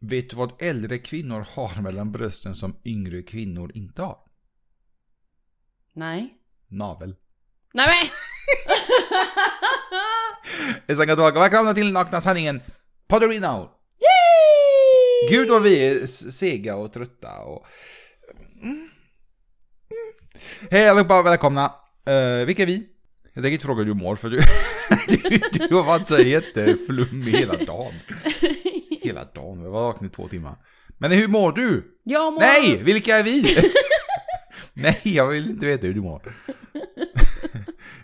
Vet du vad äldre kvinnor har mellan brösten som yngre kvinnor inte har? Nej. Navel. Nej men! Hejsan gott folk och välkomna till Nakna Sanningen Potterino! Yay! Gud vad vi är s- sega och trötta och... Mm. Mm. Hej allihopa och välkomna! Uh, vilka är vi? Jag tänker inte fråga hur du mår för du, du, du har varit så jätteflummig hela dagen. Hela dagen, jag var vaken i två timmar. Men hur mår du? Jag mår... Nej, vilka är vi? Nej, jag vill inte veta hur du mår.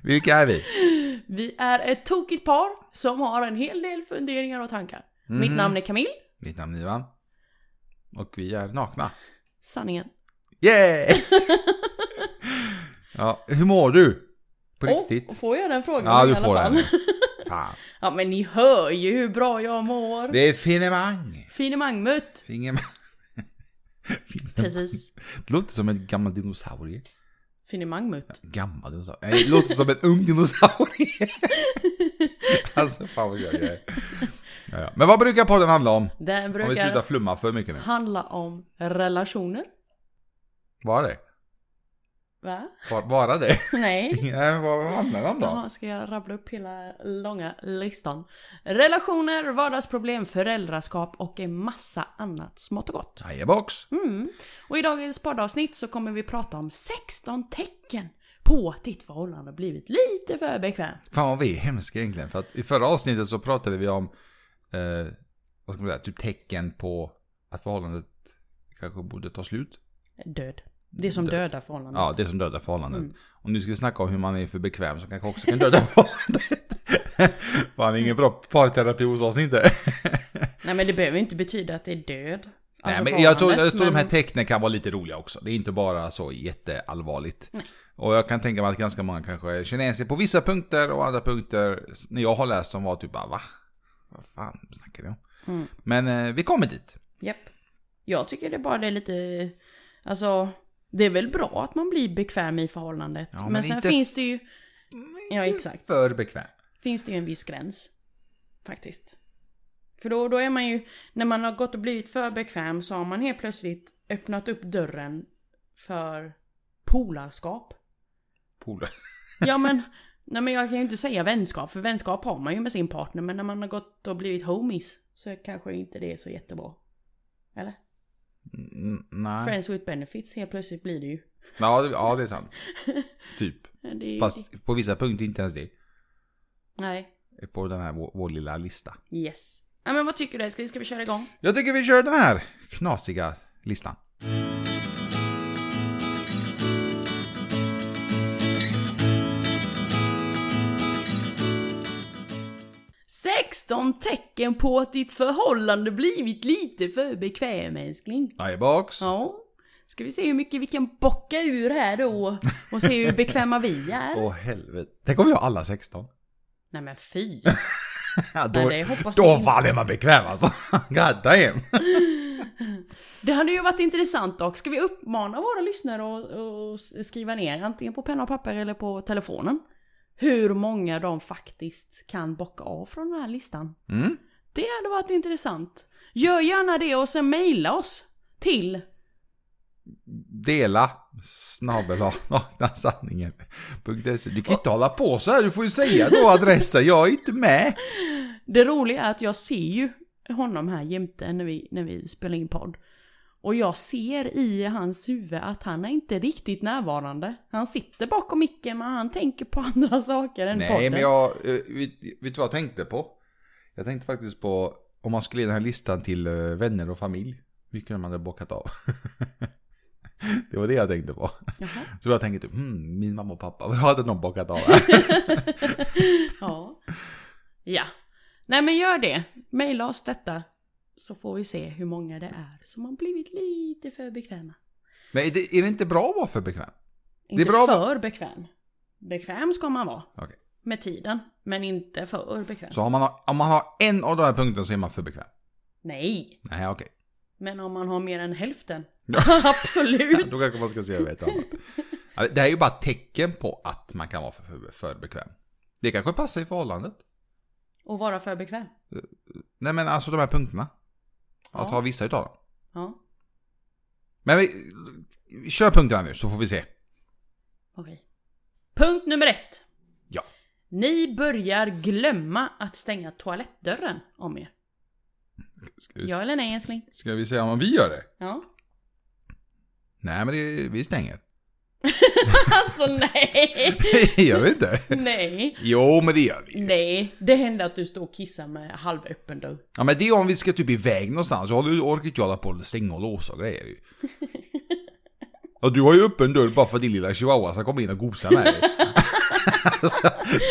vilka är vi? Vi är ett tokigt par som har en hel del funderingar och tankar. Mhm. Mitt namn är Camille. Mitt namn är Ivan. Och vi är nakna. Sanningen. Yeah! ja, hur mår du? På riktigt? Oh, får jag den frågan ja, du i alla får fall? den. Fan. Ja men ni hör ju hur bra jag mår. Det är finemang! Finemang mött. Finemang. Precis. Det låter som en gammal dinosaurie. Finemang mött. Gammal dinosaurie? Nej, det låter som en ung dinosaurie. alltså, fan vad gör jag är. ja, ja. Men vad brukar podden handla om? Den Om vi slutar brukar flumma för mycket nu. handla om relationer. Bara det? Va? Bara- Bara det? Nej. Nej, vad handlar det om då? Jaha, ska jag rabbla upp hela långa listan? Relationer, vardagsproblem, föräldraskap och en massa annat smått och gott. Hajabox! Mm. Och i dagens poddavsnitt så kommer vi prata om 16 tecken på att ditt förhållande har blivit lite för bekvämt. Fan vad vi är hemska egentligen. För att i förra avsnittet så pratade vi om eh, vad ska man säga, typ tecken på att förhållandet kanske borde ta slut. Mm. Död. Det som Död. dödar förhållanden. Ja, det som dödar förhållandet. Mm. Och nu ska vi snacka om hur man är för bekväm som kanske också kan döda förhållandet. Fan, ingen bra parterapi hos oss inte. Nej men det behöver inte betyda att det är död. Alltså Nej, men jag tror, jag förhållandet, tror de här men- tecknen kan vara lite roliga också. Det är inte bara så jätteallvarligt. Nej. Och jag kan tänka mig att ganska många kanske känner sig på vissa punkter och andra punkter s- när jag har läst som var typ bara va? Vad fan snackar ni om? Mm. Men eh, vi kommer dit. Japp. Jag tycker det bara det är lite... Alltså, det är väl bra att man blir bekväm i förhållandet. Ja, men men sen inte- finns det ju... Ja, exakt. För bekväm. Finns det ju en viss gräns. Faktiskt. För då, då är man ju... När man har gått och blivit för bekväm så har man helt plötsligt öppnat upp dörren för polarskap. Polare. Ja men... Nej men jag kan ju inte säga vänskap, för vänskap har man ju med sin partner. Men när man har gått och blivit homies så kanske inte det är så jättebra. Eller? Mm, nej. Friends with benefits helt plötsligt blir det ju. Ja, det- ja, det är sant. Typ. Men Det är ju Fast på vissa punkter inte ens det. Nej. På den här vår, vår lilla lista. Yes. Ja, men vad tycker du Eskil? Ska vi köra igång? Jag tycker vi kör den här knasiga listan. Sexton tecken på att ditt förhållande blivit lite för bekväm älskling. Hajabox. Ja. Ska vi se hur mycket vi kan bocka ur här då och se hur bekväma vi är. Åh helvete. Tänk om vi har alla 16. Nej men fy. Ja, då, Nej, det hoppas då jag inte. fan är man bekväm alltså. God damn. Det hade ju varit intressant dock. Ska vi uppmana våra lyssnare att att skriva ner antingen på penna och papper eller på telefonen hur många de faktiskt kan bocka av från den här listan? Mm. Det hade varit intressant. Gör gärna det och sen mejla oss till Dela snabel A, nakna sanningen. .se. Du kan ju inte hålla på så här. Du får ju säga då adressen. Jag är ju inte med. Det roliga är att jag ser ju honom här jämte när vi, när vi spelar in podd. Och jag ser i hans huvud att han är inte riktigt närvarande. Han sitter bakom micken men han tänker på andra saker än Nej, podden. men jag... eh, Vet, vet du vad jag tänkte på? Jag tänkte faktiskt på om man skulle ge den här listan till eh, vänner och familj. Vilka man hade bockat av. Det var det jag tänkte på. Jaha. Så jag tänkte, hmm, min mamma och pappa, vad hade de bockat av? Ja. ja. Nej men gör det. Maila oss detta. Så får vi se hur många det är som har blivit lite för bekväma. Men är det, är det inte bra att vara för bekväm? är Inte bra- för bekväm. Bekväm ska man vara. Okej. Med tiden. Men inte för bekväm. Så om man, har, om man har en av de här punkterna så är man för bekväm? Nej. Nej, okej. Men om man har mer än hälften? Ja. Absolut! Då kanske man ska se över ett annat. Ja, Det här är ju bara tecken på att man kan vara för, för, för bekväm. Det kanske passar i förhållandet. Och vara för bekväm? Nej men alltså de här punkterna. att ha vissa utav dem. Ja, Men vi, vi kör punkterna nu så får vi se. okej. Punkt nummer ett. Ja. Ni börjar glömma att stänga toalettdörren om er. Ska vi, Ja eller nej älskling? ska vi se om vi gör det? Ja. Nej men det, vi stänger. Alltså nej! Det gör vi inte. Nej. Jo men det gör vi. Nej, det händer att du står och kissar med halvöppen dörr. Ja men det är om vi ska typ iväg någonstans. Jag har- orkar inte jag hålla på och stänga och låsa och grejer ju. Ja du har ju öppen dörr bara för att din lilla chihuahua ska komma in och gosa med dig. alltså,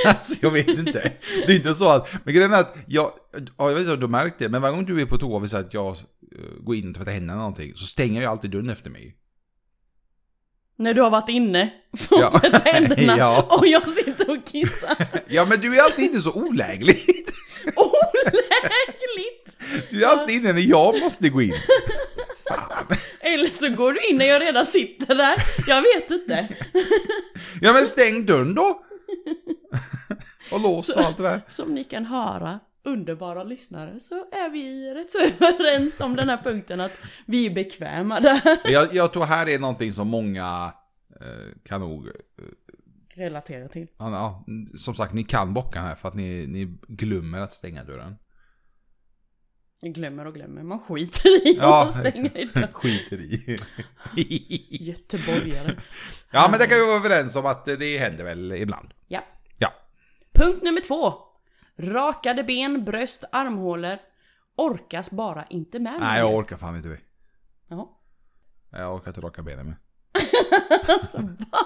alltså jag vet inte. Det är inte så att, men grejen är att jag, ja, jag vet inte om du har märkt det, men varje gång du är på toa och säger att jag eh, går in och tvättar händerna eller någonting, så stänger jag alltid dörren efter mig. När du har varit inne och Ja. tvättat händerna Ja. och jag sitter och kissar. Ja men du är alltid inte så oläglig. Olägligt! Du är alltid inne när jag måste gå in. Eller så går du in när jag redan sitter där. Jag vet inte. Ja men stäng dörren då! Och lås och allt det där. Som ni kan höra, underbara lyssnare, så är vi rätt så överens om den här punkten att vi är bekväma där. Men Jag, jag tror här är någonting som många eh, kan nog... eh, Relatera till. ja, Ja, som sagt, ni kan bocka här för att ni, ni glömmer att stänga dörren. Jag glömmer och glömmer, man skiter i Ja, och stänger i dörren. Skiter i. Göteborgare. ja, men det kan vi vara överens om att det händer väl ibland. Ja. Ja. Punkt nummer två. Rakade ben, bröst, armhålor. Orkas bara inte med Nej, jag mer. orkar fan inte. Jaha. Jag orkar inte raka benen med. Alltså va?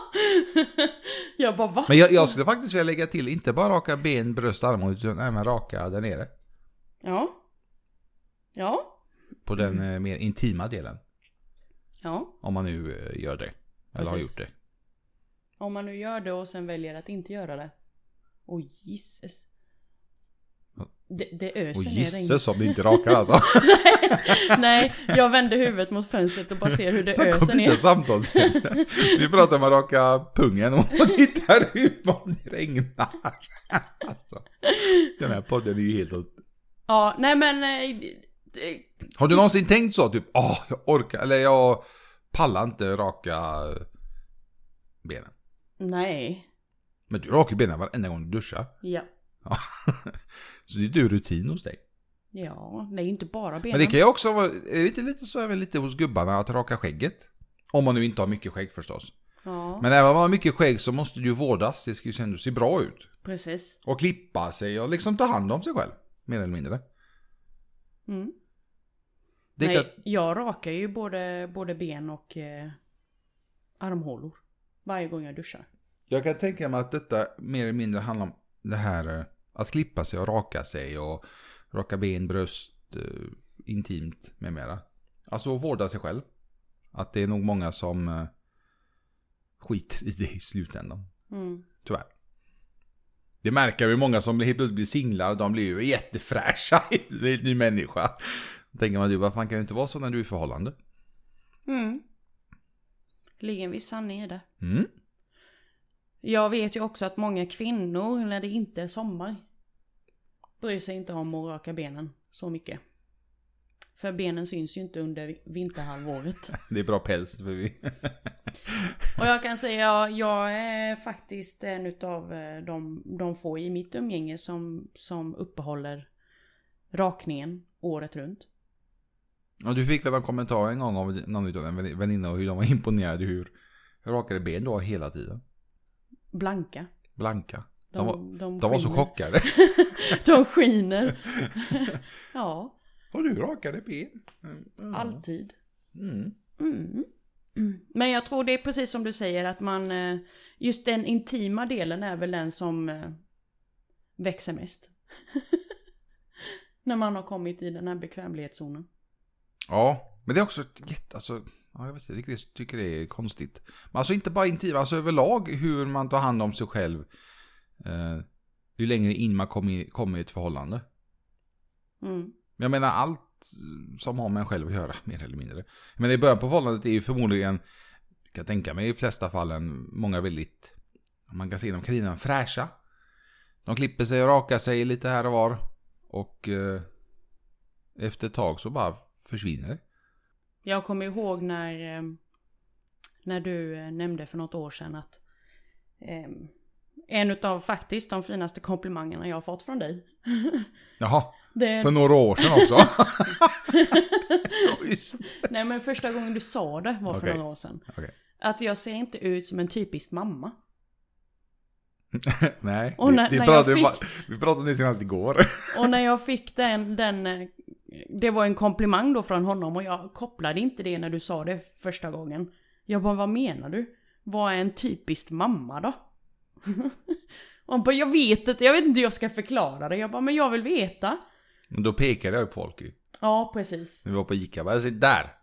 Jag bara va? Men jag, jag skulle faktiskt vilja lägga till, inte bara raka ben, bröst, armar, utan även raka där nere. Ja. Ja. På den Mm. eh, mer intima delen. Ja. Om man nu eh, gör det. Eller har Precis. gjort det. Om man nu gör det och sen väljer att inte göra det. Åh oh, Jesus. Det, det öser Och ner regn. gisses om det inte rakar alltså. Nej, jag vänder huvudet mot fönstret och bara ser hur det Snacka öser om lite ner. samtalsämne. Vi pratar om att raka pungen och tittar ut om det regnar. Alltså, den här podden är ju helt åt... Ja, nej men... eh, det- det- Har du någonsin tänkt så? Typ, åh, jag orkar, eller jag pallar inte raka benen. Nej. Men du rakar ju benen varenda gång du duschar. Ja. Ja. Så det är ju rutin hos dig. Ja, det är inte bara benen. Men det kan ju också vara, är det inte lite så även lite hos gubbarna att raka skägget? Om man nu inte har mycket skägg förstås. Ja, Men även om man har mycket skägg så måste du ju vårdas, det ska ju ändå se bra ut. precis. Och klippa sig och liksom ta hand om sig själv. Mer eller mindre. Mm. Det Nej, kan, jag rakar ju både, både ben och eh, armhålor. Varje gång jag duschar. jag kan tänka mig att detta mer eller mindre handlar om det här eh, att klippa sig och raka sig och raka ben, bröst, eh, intimt med mera. Alltså att vårda sig själv. Att det är nog många som eh, skiter i det i slutändan. Mm. Tyvärr. Det märker vi många som helt plötsligt blir singlar, de blir ju jättefräscha. Det är en helt ny människa. Då tänker man du, vad fan kan du inte vara så när du är i förhållande? Mm. Ligger en viss sanning i det. Mm. Jag vet ju också att många kvinnor, när det inte är sommar, bryr sig inte om att raka benen så mycket. För benen syns ju inte under vinterhalvåret. Det är bra päls för vi... Och jag kan säga, jag, jag är faktiskt en utav eh, de, de få i mitt umgänge som, som uppehåller rakningen året runt. Ja, du fick väl en kommentar en gång av någon utav en vän- väninna och hur de var imponerade hur hur rakade ben du har hela tiden. Blanka. Blanka. De, var, de de var så skiner. chockade. De skiner. ja, Och du rakade ben. Mm. Mm. alltid. Mm. Mm. Men jag tror det är precis som du säger att man... eh, Just den intima delen är väl den som eh, växer mest. När man har kommit i den här bekvämlighetszonen. Ja, men det är också ett jätte... Alltså, ja, jag vet inte riktigt, jag tycker det är konstigt. Men alltså inte bara intim, alltså överlag hur man tar hand om sig själv. Eh, ju längre in man kommer i, kommer i ett förhållande. Mm. Men jag menar allt som har med en själv att göra, mer eller mindre. Men i början på förhållandet är ju förmodligen, kan jag tänka mig i de flesta fallen, många väldigt, om man kan se dem kaninen fräscha. De klipper sig och rakar sig lite här och var. Och eh, efter ett tag så bara försvinner. Jag kommer ihåg när, eh, när du eh, nämnde för något år sedan att eh, en av faktiskt de finaste komplimangerna jag har fått från dig. Jaha, Det, för några år sedan också. Just. nej men första gången du sa det var för Okej. några år sedan. Okej. Att jag ser inte ut som en typisk mamma. Nej, Och vi- när- vi, när pratade, jag vi bara- vi pratade om det senast igår. Och när jag fick den, den, eh, det var en komplimang då från honom och jag kopplade inte det när du sa det första gången. Jag bara, vad menar du? Vad är en typisk mamma då? och han bara, jag vet inte, jag vet inte hur jag ska förklara det. Jag bara, men jag vill veta. Men då pekade jag ju på Holky. Ja, precis. När vi var på Ica. Jag bara, alltså, där!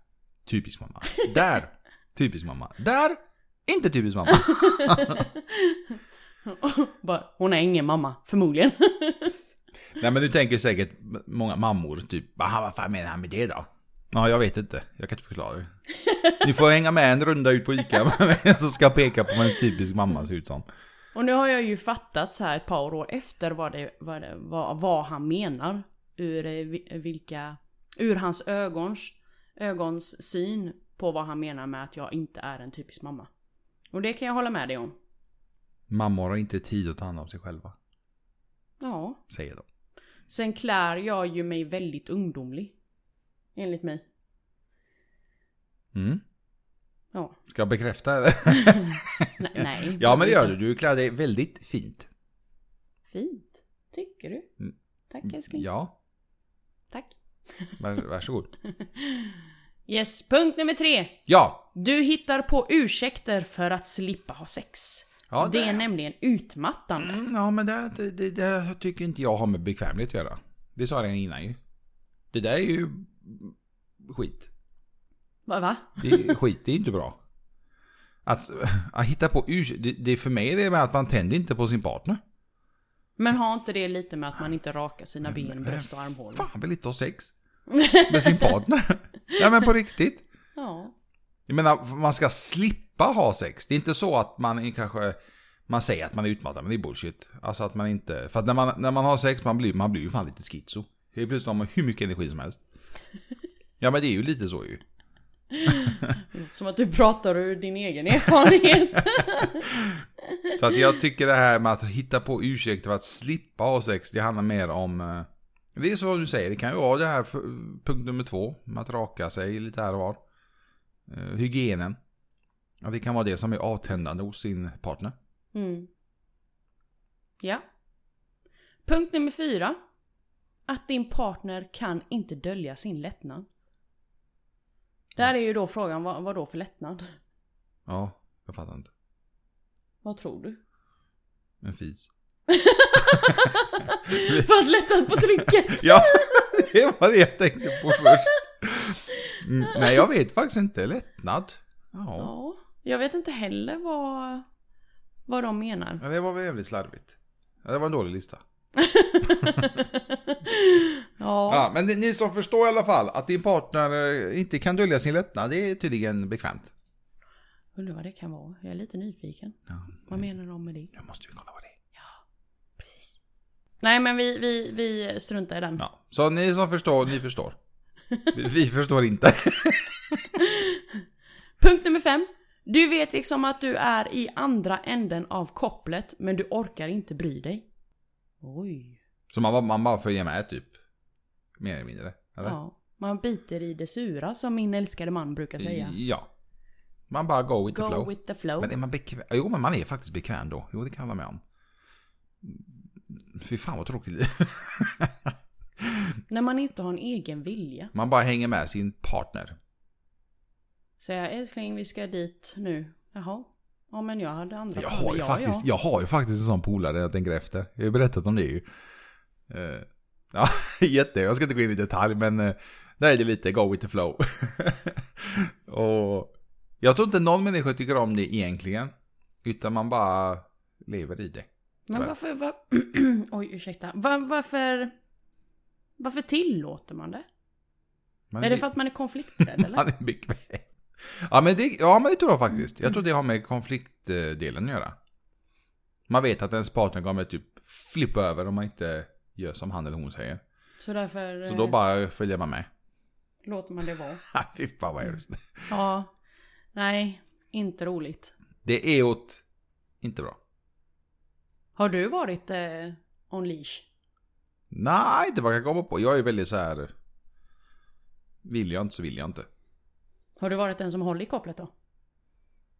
Typisk mamma. Där! Typisk mamma. Där! Inte typisk mamma. bara, hon är ingen mamma, förmodligen. Nej men du tänker säkert många mammor typ, "Aha, vad fan menar han med det då? Ja, jag vet inte. Jag kan inte förklara det. Ni får hänga med en runda ut på Ica så ska jag peka på vad en typisk mamma ser ut som. och nu har jag ju fattat så här ett par år efter vad, det, vad, det, vad, vad han menar. Ur, eh, vi- vilka, ur hans ögons, ögons syn på vad han menar med att jag inte är en typisk mamma. Och det kan jag hålla med dig om. Mammor har inte tid att ta hand om sig själva, Ja. säger de. Sen klär jag ju mig väldigt ungdomlig. Enligt mig. Mm. Ja. Ska jag bekräfta det? Nej, nej. ja men det gör du, du klär dig väldigt fint. Fint. Tycker du? Mm. Tack älskling. Ja, Tack. var, varsågod. Yes, punkt nummer tre. Ja! Du hittar på ursäkter för att slippa ha sex. ja det är nämligen utmattande. Mm, Ja, men det, det, det, det tycker inte jag har med bekvämlighet att göra. Det sa jag redan innan ju. Det där är ju skit. Va? va? Det är, skit det är inte bra. Att, att hitta på urs... Det, det är för mig det är med att man tänder inte på sin partner. Men har inte det lite med att man inte rakar sina ben, bröst och armhålor? Fan vill inte ha sex. Med sin partner. Nej men på riktigt. Ja. Jag menar, man ska slippa ha sex. Det är inte så att man är kanske... Man säger att man är utmattad, men det är bullshit. Alltså att man inte... För att när man, när man har sex, man blir, man blir ju fan lite schizo. Helt plötsligt har man hur mycket energi som helst. Ja men det är ju lite så ju. Det låter Som att du pratar ur din egen erfarenhet. Så att jag tycker det här med att hitta på ursäkter för att slippa ha sex, det handlar mer om... eh, Det är som du säger, det kan ju vara det här för, punkt nummer två. Med att raka sig lite här och var. Eh, Hygienen. Ja, det kan vara det som är avtändande hos sin partner. Mm. Ja. Punkt nummer fyra. Att din partner kan inte dölja sin lättnad. Där är ju då frågan, vad, vad då för lättnad? Ja, jag fattar inte. Vad tror du? En fis. För att lätta på trycket. Ja, det var det jag tänkte på först. Mm, Nej, jag vet faktiskt inte. Lättnad. Ja. Ja, jag vet inte heller vad, vad de menar. ja. Det var väl jävligt slarvigt. Ja, det var en dålig lista. ja. Ja, men ni- ni som förstår i alla fall att din partner eh, inte kan dölja sin lättnad, det är tydligen bekvämt. undrar vad det kan vara. Jag är lite nyfiken. Ja. Vad menar de med det? Nu måste vi kolla vad det är. Precis. Nej men vi, vi, vi struntar i den. Ja, så ni som förstår, ni förstår. Vi- Vi förstår inte. Punkt nummer fem. Du vet liksom att du är i andra änden av kopplet men du orkar inte bry dig. Oj. Så man, bara- man bara följer med typ. Mer eller mindre. Eller? Ja. Man biter i det sura som min älskade man brukar säga. ja. Man bara go with the flow. Go with the flow. Men är man bekväm? Jo, men man är faktiskt bekväm då. Jo, det kan jag hålla med om. Fy fan vad tråkigt liv. När man inte har en egen vilja. Man bara hänger med sin partner. Säga älskling vi ska dit nu. Jaha. Ja men jag hade andra Jag planer. har ju, Ja, faktiskt, ja. Jag har ju faktiskt en sån polare jag tänker efter. Jag har ju berättat om det ju. Eh, Ja, jätte. Jag ska inte gå in i detalj men eh, där är det lite go with the flow. Och jag tror inte någon människa tycker om det egentligen. Utan man bara lever i det. Men varför... Var... Oj ursäkta. Var, varför... Varför tillåter man det? Man Är det för att man är konflikträdd eller? Man är bekväm. Ja men, det, ja men det tror jag faktiskt. Jag tror det har med konfliktdelen att göra. Man vet att ens partner kommer typ flippa över om man inte gör som han eller hon säger. Så därför... Så då eh, bara följer man med. låter man det vara. Fy fan vad hemskt. Ja, nej, inte roligt. Det är åt... Inte bra. Har du varit eh, on leash? Nej, inte vad jag kan komma på. Jag är väldigt så här... Vill jag inte så vill jag inte. Har du varit den som håller i kopplet då?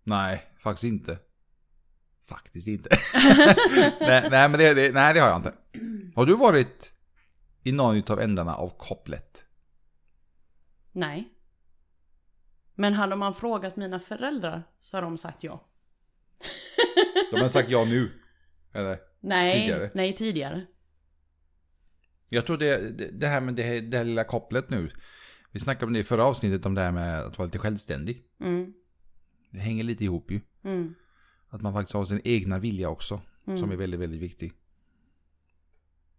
Nej, faktiskt inte. Faktiskt inte. nej, nej, men det, det, nej, det har jag inte. Har du varit i någon av ändarna av kopplet? Nej. Men hade man frågat mina föräldrar så har de sagt ja. De har sagt ja nu. Eller? Nej, Tidigare. nej tidigare. Jag tror det, det, det här med det här, det här lilla kopplet nu. Vi snackade om det i förra avsnittet om det här med att vara lite självständig. Mm, Det hänger lite ihop ju. mm, Att man faktiskt har sin egna vilja också. mm. Som är väldigt, väldigt viktig.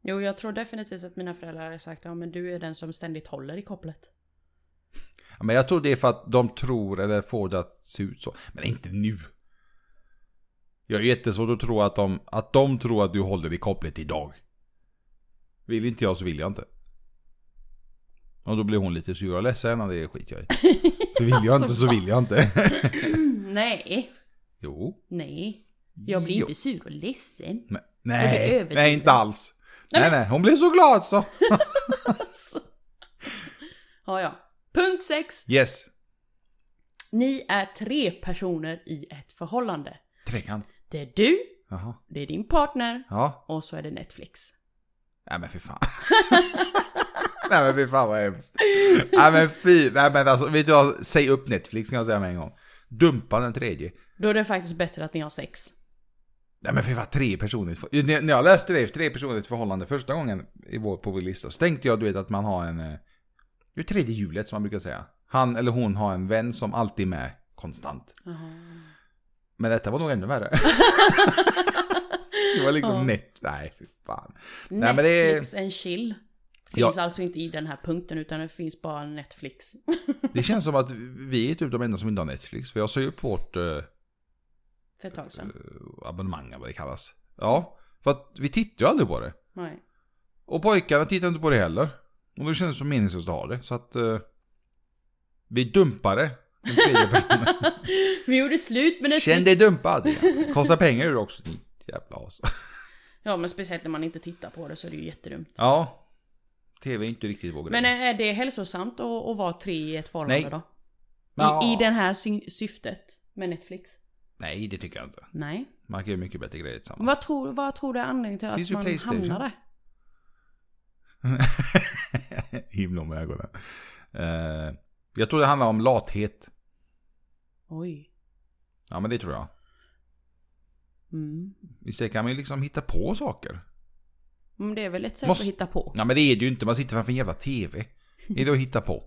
Jo, jag tror definitivt att mina föräldrar har sagt ja, men du är den som ständigt håller i kopplet. Ja, Men jag tror det är för att de tror eller får det att se ut så. Men inte nu. Jag är jättesvårt att tro att de, att de tror att du håller i kopplet idag. Vill inte jag så vill jag inte. Och då blir hon lite sur och ledsen och det skiter jag i. Så vill jag inte så vill jag inte. nej, Jo. nej. Jag blir Jo. inte sur och ledsen. Nej, det är nej, överdrivet. nej inte alls. Nej, nej, hon blev så glad så. Alltså. ja, ja. Punkt 6. Yes. Ni är tre personer i ett förhållande. Trekan. Det är du, Jaha. det är din partner Ja. och så är det Netflix. Nej men fy fan. nej men fy fan vad hemskt. Nej men fy. Nej men alltså vet du vad? Säg upp Netflix kan jag säga med en gång. Dumpa den tredje. Då är det faktiskt bättre att ni har sex. Nej men fy fan, tre personer. i ett för- När när jag läste det, tre personer i ett förhållande första gången i vår, på vår lista. Så tänkte jag du vet att man har en... eh, Det är tredje hjulet som man brukar säga. Han eller hon har en vän som alltid är med konstant. Men detta var nog ännu värre. det var liksom Ja. net... Nej, fy fan. Nej, men det är- Netflix and chill. Finns alltså inte i den här punkten utan det finns bara Netflix. Det känns som att vi är typ de enda som inte har Netflix. För jag sa ju upp vårt eh, För ett tag sedan. abonnemang, eller vad det kallas. Ja, för att vi tittar ju aldrig på det. Nej. Och pojkarna tittar inte på det heller. Och då känns det som meningslöst att ha det. Så att eh, vi dumpade den tredje personen. Vi gjorde slut med Netflix. Känn dig dumpad. Kostar pengar ur också. din Jävla as. Ja men speciellt när man inte tittar på det så är det ju jättedumt. Ja. TV är inte riktigt vår grej. Men eh, är det hälsosamt att, att vara tre i ett förhållande Nej. då? I, Ja. I den här sy- syftet med Netflix? Nej, det tycker jag inte. Nej. Man kan ju mycket bättre grejer tillsammans. Vad tror, vad tror du är anledningen till Finns att ju man PlayStation. hamnar där? Himla med ögonen. Eh, jag tror det handlar om lathet. Oj. Ja, men det tror jag. Mm. Istället kan man ju liksom hitta på saker. Men det är väl ett sätt Måste- att hitta på? Ja, men det är det ju inte. Man sitter framför en jävla TV. Det är det att hitta på.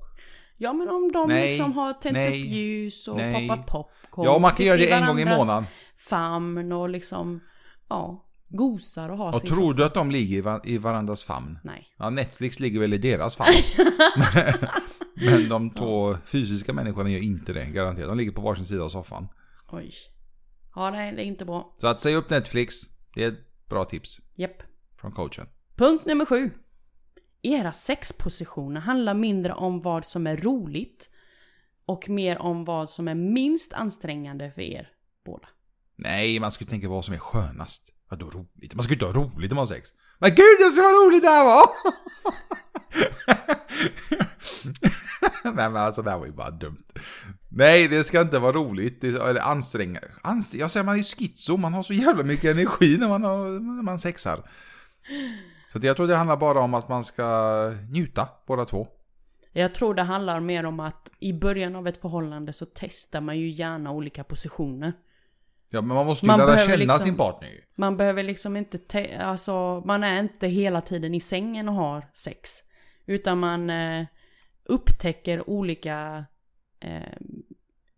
Ja men om de Nej, liksom har tänt nej, upp ljus och nej. poppat popcorn. Ja, man kan sitter göra det en gång i varandras månaden. famn och liksom, ja, gosar och har Och sig tror som- du att de ligger i va- i varandras famn? Nej. Ja, Netflix ligger väl i deras famn. men de två fysiska människorna gör inte det, garanterat. De ligger på varsin sida av soffan. Oj. Ja, nej, det är inte bra. Så att säga upp Netflix, det är ett bra tips Japp. från coachen. Punkt nummer sju. Era sexpositioner handlar mindre om vad som är roligt och mer om vad som är minst ansträngande för er båda. Nej, man skulle tänka vad som är skönast. Vadå roligt? Man skulle inte ha roligt om man har sex. Men gud, jag ser vad roligt det här var! Nej men alltså det här var ju bara dumt. Nej, det ska inte vara roligt. Det, eller anstränga. Anstr jag säger man är ju schizo, man har så jävla mycket energi när man, har, när man sexar. Så att jag tror det handlar bara om att man ska njuta, båda två. Jag tror det handlar mer om att i början av ett förhållande så testar man ju gärna olika positioner. Ja, men man måste ju Man lära behöver känna liksom- sin partner ju. Man behöver liksom inte, te- alltså man är inte hela tiden i sängen och har sex. Utan man eh, upptäcker olika, eh,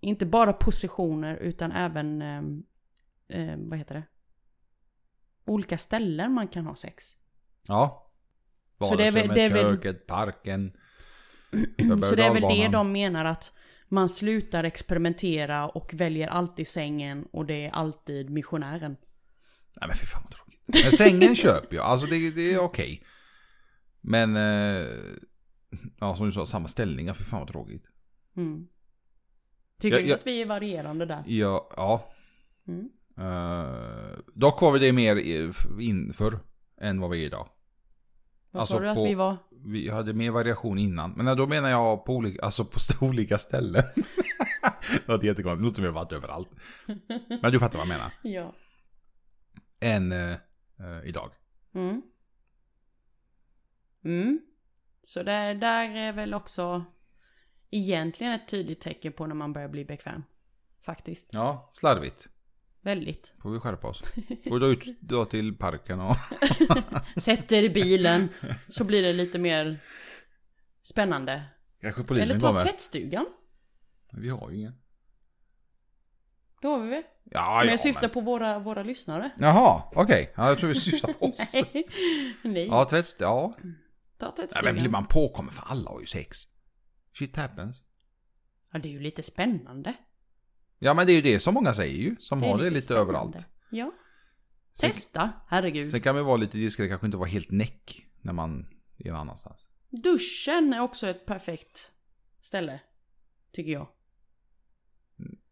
inte bara positioner utan även, eh, eh, vad heter det? Olika ställen man kan ha sex. Ja. Så det är väl- Vardagsrummet, det är väl- köket, parken. Så det är väl det berg-och-dalbanan. de menar att man slutar experimentera och väljer alltid sängen och det är alltid missionären. Nej men fy fan vad tråkigt. Men sängen köper jag, alltså det, det är okej. Men eh, Ja, som du sa, samma ställningar. Fy fan vad tråkigt. Mm. Tycker Jag- du jag- att vi är varierande där? Ja, ja. Mm. Eh, dock var vi det mer i- inför än vad vi är idag. Vad Alltså, sa du att på- vi var? Vi hade mer variation innan. Men eh, då menar jag på olika, alltså på st- olika ställen. det låter jättekonstigt, det låter som vi har varit överallt. Men du fattar vad jag menar. Ja. Än eh, eh, idag. Mm. Mm. Så där, där är väl också egentligen ett tydligt tecken på när man börjar bli bekväm. Faktiskt. Ja, slarvigt. Väldigt. Får vi skärpa oss. Går då ut då till parken och... Sätter i bilen så blir det lite mer spännande. Kanske Eller polisen ta kommer. tvättstugan. Vi har ju ingen. Då har vi väl. Ja, Men ja, jag syftar på våra, våra lyssnare. Jaha, okej. Ja, jag tror vi syftar på oss. Nej. ja, tvätt... Ja. Ta Nej, tvättstugan. men blir man påkommen för alla har ju sex. Shit happens. Ja, det är ju lite spännande. Ja, men det är ju det som många säger ju. Som är har det lite spännande. överallt. Ja. Sen- Testa, herregud. Sen kan man ju vara lite diskret, kanske inte vara helt näck när man är någon annanstans. Duschen är också ett perfekt ställe. Tycker jag.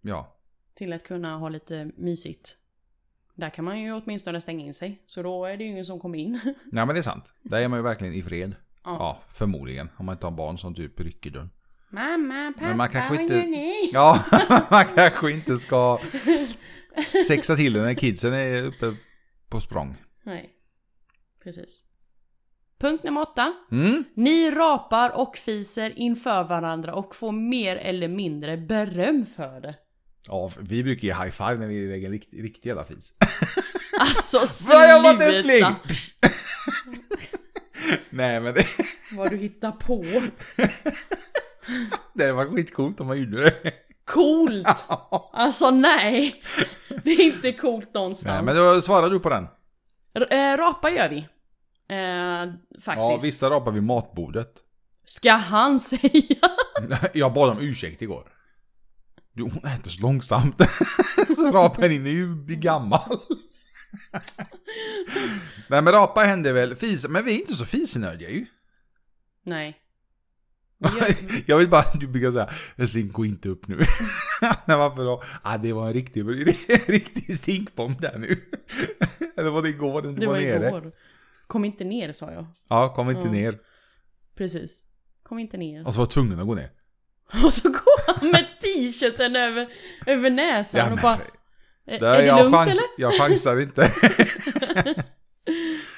Ja. Till att kunna ha lite mysigt. Där kan man ju åtminstone stänga in sig. Så då är det ju ingen som kommer in. Nej, men det är sant. Där är man ju verkligen i fred. Ja. Ja, förmodligen. Om man inte har barn som typ rycker dörren. Mamma, pappa, Men man kanske vad inte- gör ni? Ja, man kanske inte ska sexa till det när kidsen är uppe på språng. Nej. Precis. Punkt nummer åtta. Mm. Ni rapar och fiser inför varandra och får mer eller mindre beröm för det. Ja, vi brukar ge high five när vi lägger en riktig, riktig jävla fis. Alltså Vad jag varit sluta! älskling! Nej men det, Vad du hittar på. det var skitcoolt om man gjorde det. Coolt! Alltså nej! Det är inte coolt Nej någonstans. men då svarar du på den. R- eh, rapa gör vi. Eh, Ja, faktiskt. vissa rapar vid matbordet. Ska han säga? Jag bad om ursäkt igår. Du, hon äter så långsamt. så rapan in är ju gammal. Nej men rapa händer väl, fis, men vi är inte så fisnödiga ju. Nej. Jag vill bara att du brukar säga älskling gå inte upp nu. Nej varför då? Ah, det var en riktig, en riktig stinkbomb där nu. Eller var det igår den Det var, var nere? igår. Kom inte ner sa jag. Ja, kom inte Ja. ner. Precis. Kom inte ner. Och så var jag tvungen att gå ner. Och så går han med t-shirten över, över näsan och men bara... för- "Är- där är det jag lugnt chans- eller? Jag chansar inte.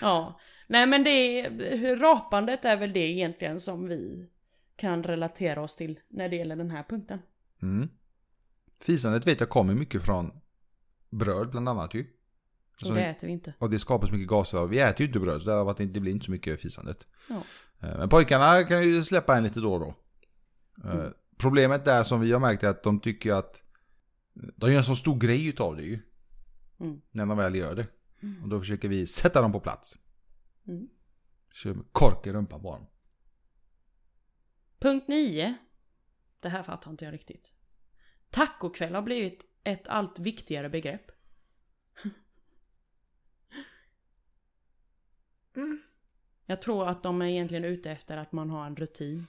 Ja. Nej men det är, rapandet är väl det egentligen som vi kan relatera oss till när det gäller den här punkten. Mm. Fisandet vet jag kommer mycket från bröd bland annat ju. Och Alltså, det äter vi inte. och det skapas mycket gaser av. Vi äter ju inte bröd så det, har varit- det blir inte så mycket fisandet. Ja. Eh, Men pojkarna kan ju släppa en lite då och då. Eh, Mm. Problemet där som vi har märkt är att de tycker att de gör en så stor grej utav det ju. Mm. När de väl gör det. Och då försöker vi sätta dem på plats. Mm. Kör med kork i rumpan på dem. Punkt 9. Det här fattar inte jag riktigt. Tacokväll har blivit ett allt viktigare begrepp. Mm. Jag tror att de är egentligen ute efter att man har en rutin.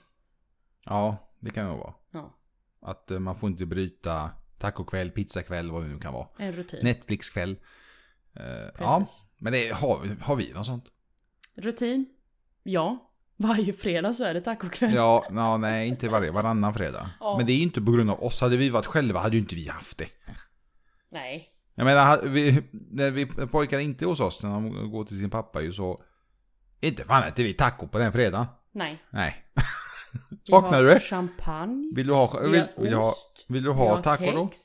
Ja, det kan det nog vara. Ja, Att eh, man får inte bryta tacokväll, pizzakväll, vad det nu kan vara. en rutin. Netflixkväll. Eh, ja, Precis. men det, har, har vi något sånt? Rutin? Ja. Varje fredag så är det tacokväll. Ja, no, nej, inte varje, varannan fredag. Ja. Men det är ju inte på grund av oss. Hade vi varit själva hade ju inte vi haft det. Nej. Jag menar, ha- vi, när vi pojkar inte hos oss när de går till sin pappa ju så... Inte fan äter vi taco på den fredagen. Nej. Nej. Vi Saknar har du det? Champagne. Vill du ha... Vi Vill, har vill du ha, ost. vill du vi ha har taco då? kex,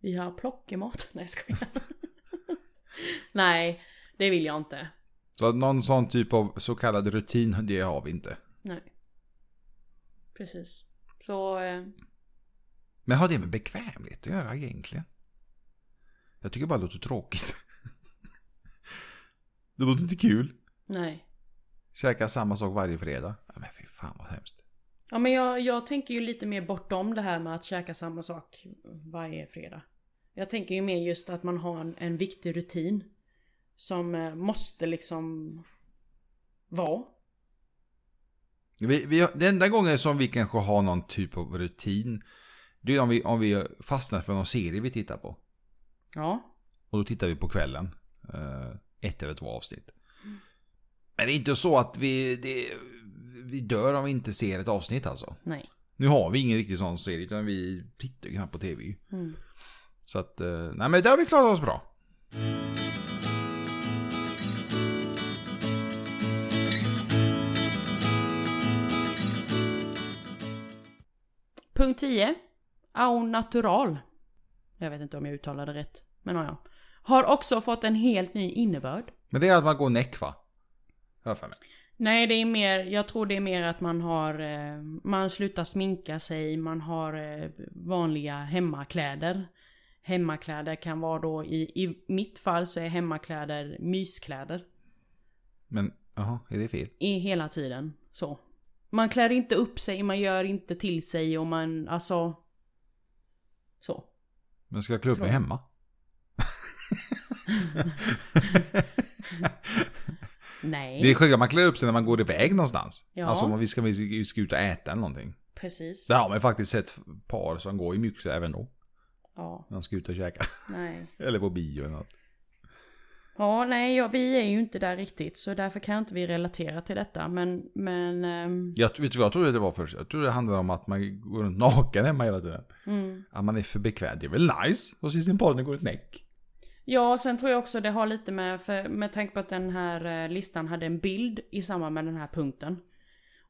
Vi har plockemat. Nej jag skojar. Nej, det vill jag inte. Så att någon sån typ av så kallad rutin, det har vi inte. Nej. Precis. Så... Eh, Men har det med bekvämlighet att göra egentligen? Jag tycker bara det låter tråkigt. det låter inte kul. nej. Käka samma sak varje fredag. Ja, men fy fan vad hemskt. Ja men jag, jag tänker ju lite mer bortom det här med att käka samma sak varje fredag. Jag tänker ju mer just att man har en, en viktig rutin. Som eh, måste liksom vara. Vi, vi, den enda gången som vi kanske har någon typ av rutin, det är om vi, om vi fastnar för någon serie vi tittar på. Ja. Och då tittar vi på kvällen. eh, Ett eller två avsnitt. Men det är inte så att vi, det, vi dör om vi inte ser ett avsnitt alltså. Nej. Nu har vi ingen riktig sån serie utan vi tittar ju knappt på tv. ju. Mm. Så att, eh, nej men det har vi klarat oss bra. Punkt 10. Au natural. Jag vet inte om jag uttalade rätt. Men ja. Har också fått en helt ny innebörd. Men det är att man går näck va? Har jag för mig. Nej, det är mer, jag tror det är mer att man har, eh, man slutar sminka sig, man har eh, vanliga hemmakläder. Hemmakläder kan vara då, i, i mitt fall så är hemmakläder myskläder. Men, jaha, är det fel? I hela tiden, så. Man klär inte upp sig, man gör inte till sig och man, alltså... Så. Men ska jag klä upp mig hemma? Nej, Det är sjukt att man klär upp sig när man går iväg någonstans. Ja. Alltså om vi ska, vi ska ut och äta eller någonting. precis. Det har man ju faktiskt sett par som går i myxor även då. Ja, När de ska ut och käka. nej. Eller på bio eller något. Ja, nej, ja, vi är ju inte där riktigt så därför kan inte vi relatera till detta. Men, men... ehm, Jag, vet du vad jag trodde det var först? Jag trodde det handlade om att man går runt naken hemma hela tiden. mm. Att man är för bekväm. Det är väl nice? Och så sin partner går ett näck. Ja, sen tror jag också det har lite med, för, med tanke på att den här eh, listan hade en bild i samband med den här punkten.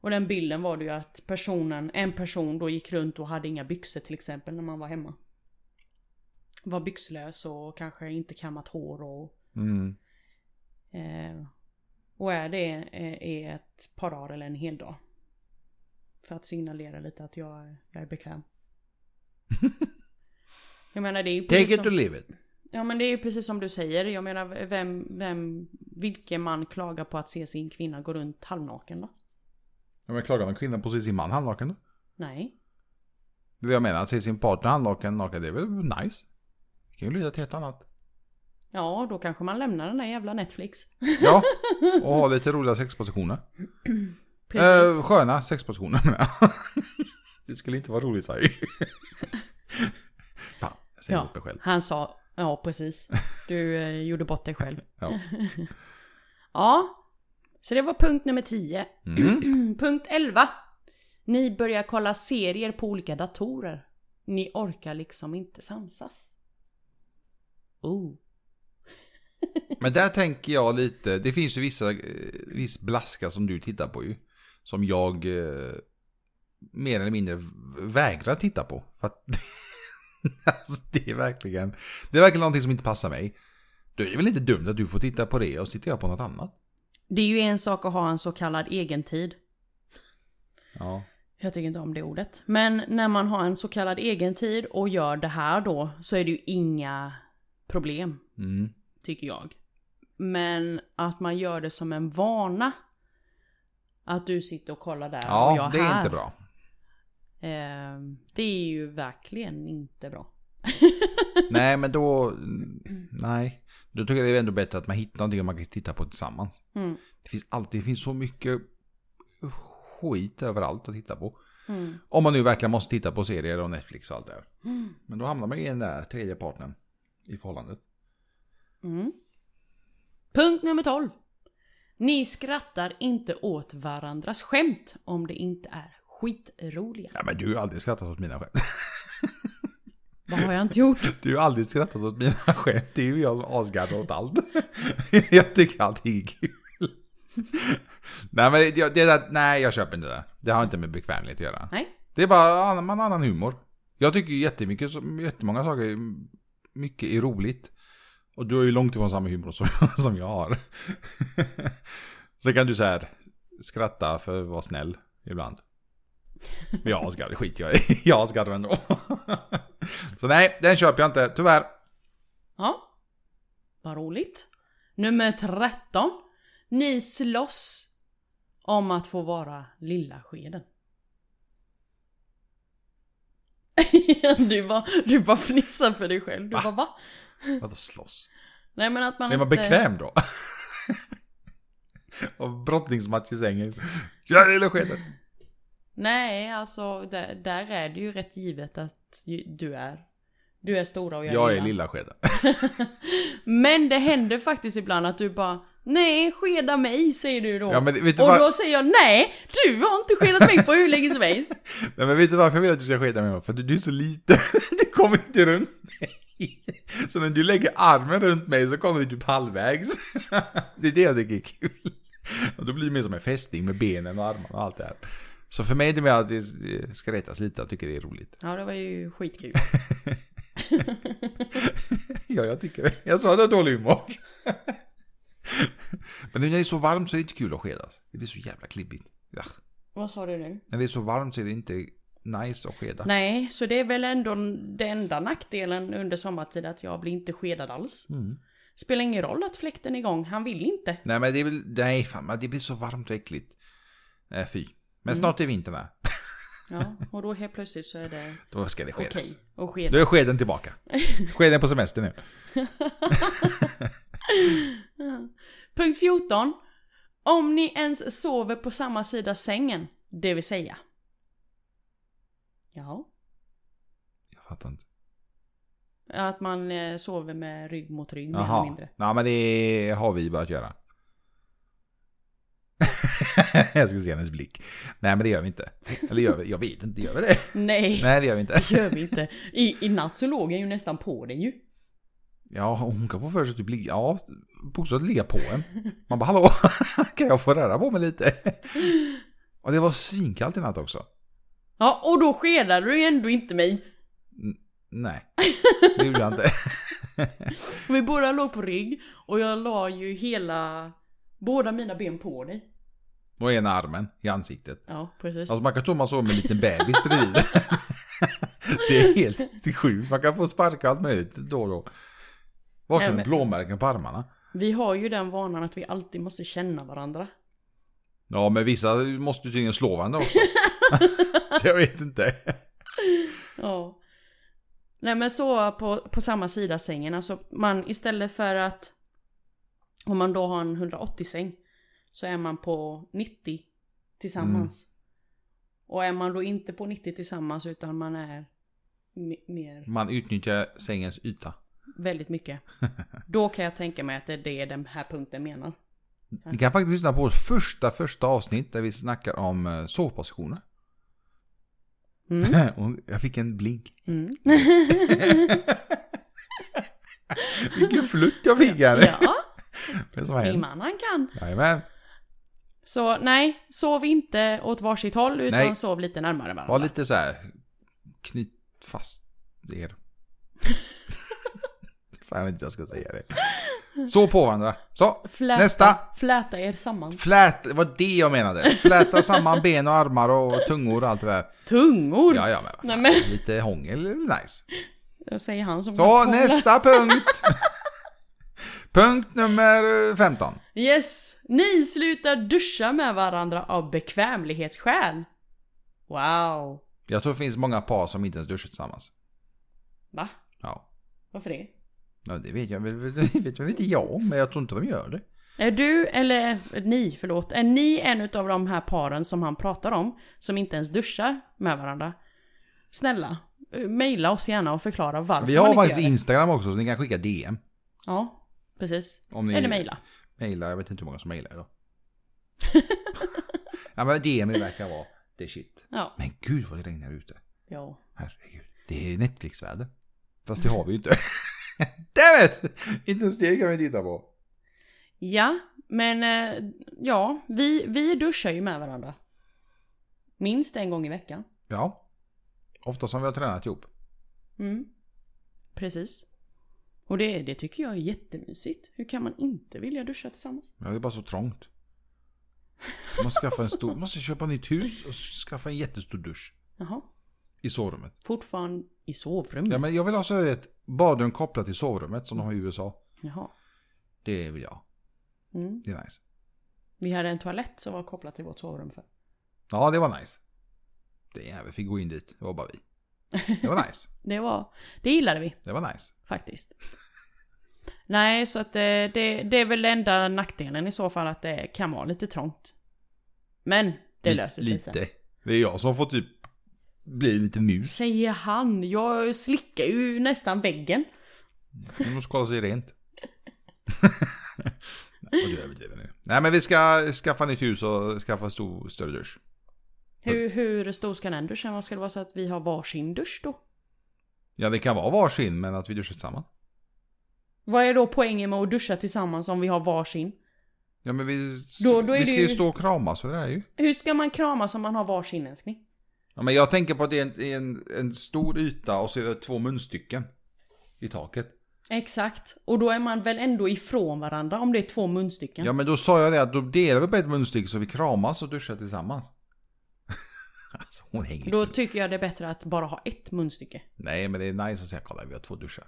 Och den bilden var det ju att personen, en person då gick runt och hade inga byxor till exempel när man var hemma. Var byxlös och kanske inte kammat hår och... Mm. Eh, och är det eh, är ett par dagar eller en hel dag. För att signalera lite att jag, är- jag är bekväm. jag menar det är ju Take precis it or som- leave it. Ja men det är ju precis som du säger. Jag menar vem, vem, vilken man klagar på att se sin kvinna gå runt halvnaken då? Ja, men klagar någon kvinna på att se sin man handlaken då? Nej. Det är det jag menar. Att se sin partner handlaken naken, det är väl nice? Det kan ju leda till ett annat. Ja, då kanske man lämnar den där jävla Netflix. Ja, och ha lite roliga sexpositioner. Precis. Eh, sköna sexpositioner menar jag. Det skulle inte vara roligt sa jag ju. Fan, jag säger ja, emot mig själv. han sa, ja precis. Du eh, gjorde bort dig själv. Ja. Ja, så det var punkt nummer 10. Mm. punkt 11. Ni börjar kolla serier på olika datorer. Ni orkar liksom inte samsas. Oh. Men där tänker jag lite, det finns ju vissa, eh, viss blaska som du tittar på ju. Som jag eh, mer eller mindre vägrar titta på. För att alltså, det är verkligen, det är verkligen någonting som inte passar mig. Då är det väl inte dumt att du får titta på det och så tittar jag på något annat. Det är ju en sak att ha en så kallad egentid. Ja. Jag tycker inte om det ordet. Men när man har en så kallad egentid och gör det här då så är det ju inga problem, Mm. tycker jag. Men att man gör det som en vana. Att du sitter och kollar där och Ja, jag det här. är inte bra. Eh, det är ju verkligen inte bra. Nej, men då... Nej. Då tycker jag det är ändå bättre att man hittar någonting man kan titta på tillsammans. Mm. Det finns alltid, det finns så mycket skit överallt att titta på. Mm. Om man nu verkligen måste titta på serier och Netflix och allt det här. Men då hamnar man ju i den där tredje partnern i förhållandet. Mm. Punkt nummer 12. Ni skrattar inte åt varandras skämt om det inte är skitroliga. Ja, men du har ju aldrig skrattat åt mina skämt. Vad har jag inte gjort? Du har aldrig skrattat åt mina skämt. Det är ju jag som asgarvar åt allt. Jag tycker allting är kul. Nej, men det, det där, nej, jag köper inte det. där. Det har inte med bekvämlighet att göra. Nej. Det är bara annan, man har annan humor. Jag tycker ju jättemycket, som- jättemånga saker, mycket är roligt. Och du har ju långt ifrån samma humor som, som jag har. Så kan du så här skratta för att vara snäll ibland. Men jag asgarvar, skit jag i. Jag asgarvar ändå. Så nej, den köper jag inte, tyvärr. Ja. Vad roligt. Nummer 13. Ni slåss om att få vara lilla skeden. du, bara, du bara fnissar för dig själv. Du Va? bara va? Vadå slåss? Nej men att man Är man inte... bekväm då? Och brottningsmatch i sängen. Ja, det är skedet. Nej, alltså där, där är det ju rätt givet att ju- du är. Du är stora och jag, Jag är lilla skeden. Men det händer faktiskt ibland att du bara Nej, skeda mig säger du då. Ja, men vet du och vad- då säger jag nej, du har inte skedat mig på hur länge som helst. Nej men vet du varför jag vill att du ska skeda med mig? För att du, du är så liten, du kommer inte runt mig. Så när du lägger armen runt mig så kommer du typ halvvägs. Det är det jag tycker är kul. Och då blir det mer som en fästing med benen och armarna och allt det här. Så för mig är det mer att det ska retas lite och tycker det är roligt. Ja, det var ju skitkul. Ja, jag tycker det. Jag sa att jag har dålig humor. Men nu när det är så varmt så är det inte kul att skedas. Det blir så jävla klibbigt. Ja. Vad sa du nu? När det är så varmt så är det inte nice att skeda. Nej, så det är väl ändå den enda nackdelen under sommartid att jag blir inte skedad alls. Mm. Spelar ingen roll att fläkten är igång, han vill inte. Nej men det är väl, nej fan, men det blir så varmt och äckligt. Nej fy. Men snart är vintern här. Ja, och då helt plötsligt så är det Då ska det okej skedas. att Då skeda. är skeden tillbaka. Skeden på semester nu. Punkt 14. Om ni ens sover på samma sida sängen, det vill säga. Ja, Jag fattar inte. att man eh, sover med rygg mot rygg mer eller Jaha. mindre. Nej men det har vi börjat göra. jag ska se hennes blick. Nej men det gör vi inte. Eller gör vi? Jag vet inte, gör vi det? Nej, Nej det gör vi inte. det gör vi inte. I, i natt så låg jag ju nästan på den ju. Ja hon kan få för sig att typ ligga, ja bokstavligt ligga på en. Man bara hallå, kan jag få röra på mig lite? Och det var svinkallt i natt också. Ja, och då skedade du ju ändå inte mig. Nej, det gjorde jag inte. Vi båda låg på rygg och jag la ju hela, båda mina ben på dig. Och ena armen i ansiktet. Ja, precis. Alltså man kan tro man sover med en liten bebis bredvid. det är helt sjukt. Man kan få sparka allt möjligt då och då. Vakna med men- blåmärken på armarna. Vi har ju den vanan att vi alltid måste känna varandra. Ja, men vissa måste ju tydligen slå varandra också. Så jag vet inte. Ja. Nej men så på, på samma sida sängen. Alltså man istället för att om man då har en 180 säng så är man på 90 tillsammans. Mm. Och är man då inte på 90 tillsammans utan man är m- mer Man utnyttjar sängens yta. väldigt mycket. Då kan jag tänka mig att det är det den här punkten menar. Ni kan faktiskt lyssna på vårt första, första avsnitt där vi snackar om eh, sovpositioner. Mm. Och jag fick en blink. Mm. Vilken flört jag fick här. ja, Det är som har min hänt. man han kan. Jajamän. Så nej, sov inte åt varsitt håll utan Nej. sov lite närmare varandra. Var lite så här. Knyt fast er. Fan, jag vet inte jag ska säga det. Så på varandra. Så, Fläta, nästa. Fläta er samman. Flät, det var det jag menade. Fläta samman ben och armar och tungor och allt det där. Tungor! Ja, ja, men, vad fan, Nej, men- lite hångel är väl nice. Då säger han som Så, hånglar. nästa punkt. punkt nummer 15. Yes! Ni slutar duscha med varandra av bekvämlighetsskäl. Wow! Jag tror det finns många par som inte ens duschar tillsammans. Va? Ja, Varför det? ja det vet jag väl det vet väl inte jag om, men jag tror inte de gör det. Är du, eller ni, förlåt. Är ni en av de här paren som han pratar om, som inte ens duschar med varandra? Snälla, eh, mejla oss gärna och förklara varför Vi man har inte faktiskt gör det. Instagram också, så ni kan skicka DM. Ja, precis. Om ni Eller mejla. Mejla, jag vet inte hur många som mejlar idag. ja men DM verkar vara the shit. Ja. Men gud vad det regnar ute. ja. Herregud. Det är Netflix-väder. Fast det har vi ju inte. Damn it! Inte ens det kan vi titta på. Ja, men eh, ja, vi, vi duschar ju med varandra. Minst en gång i veckan. Ja. Ofta som vi har tränat ihop. Mm. Precis. Och det, det tycker jag är jättemysigt. Hur kan man inte vilja duscha tillsammans? Men det är bara så trångt. Man måste, skaffa en stor, måste köpa ett nytt hus och skaffa en jättestor dusch. Jaha. I sovrummet. Fortfarande i sovrummet? Ja men jag vill ha så här ett badrum kopplat till sovrummet som de har i USA. Jaha. Det vill jag. Mm. Det är nice. Vi hade en toalett som var kopplad till vårt sovrum för. Ja, det var nice. Det jäveln fick gå in dit. Det var bara vi. Det var nice. Det var... Det gillade vi Det var nice. faktiskt. Nej, så att eh, det, det är väl enda nackdelen i så fall att det kan vara lite trångt. Men det Li- löser sig sen. Lite. Det är jag som får typ bli en liten mus. Säger han. Jag slickar ju nästan väggen. Du måste kolla sig rent. Nej, och du överdriver nu. Nej men vi ska skaffa nytt hus och skaffa stor, större dusch. Hur, hur stor ska den duschen vara? Ska det vara så att vi har varsin dusch då? Ja det kan vara varsin men att vi duschar tillsammans. Vad är då poängen med att duscha tillsammans om vi har varsin? Ja men vi, Då- då vi är det ska ju- ju stå och kramas och det är ju. Hur ska man kramas om man har varsin älskling? Ja, men jag tänker på att det är en, en, en stor yta och så är det två munstycken i taket. Exakt. Och då är man väl ändå ifrån varandra om det är två munstycken. Ja men då sa jag det att då delar vi på ett munstycke så vi kramas och duschar tillsammans. alltså hon hänger Då tycker jag det är bättre att bara ha ett munstycke. Nej men det är nice att säga kolla vi har två duschar.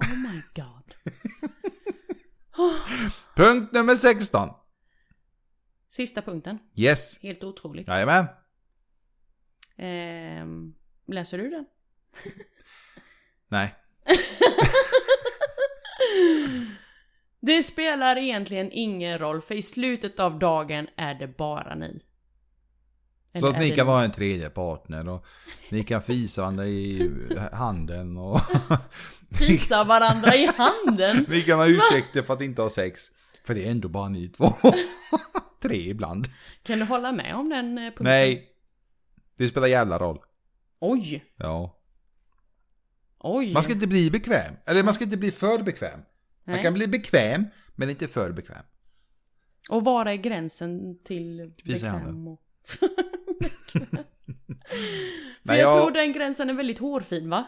Oh my god. Punkt nummer 16. Sista punkten. Yes. Helt otroligt. Jajamän. Ehm, läser du den? Nej. Det spelar egentligen ingen roll för i slutet av dagen är det bara ni. Så Eller att är ni det kan vara en tredje partner och ni kan fisa varandra i handen och Pissa varandra i handen. ni kan ha ursäkter för att inte ha sex. För det är ändå bara ni två. Tre ibland. Kan du hålla med om den eh, punkten? Nej. Det spelar jävla roll. Oj. Ja. Oj. Man ska inte bli bekväm. Eller man ska inte bli för bekväm. Man Nej. kan bli bekväm, men inte för bekväm. Och var är gränsen till Visa i bekväm handen. och... Bekväm. För Nej, jag jag- tror den gränsen är väldigt hårfin va?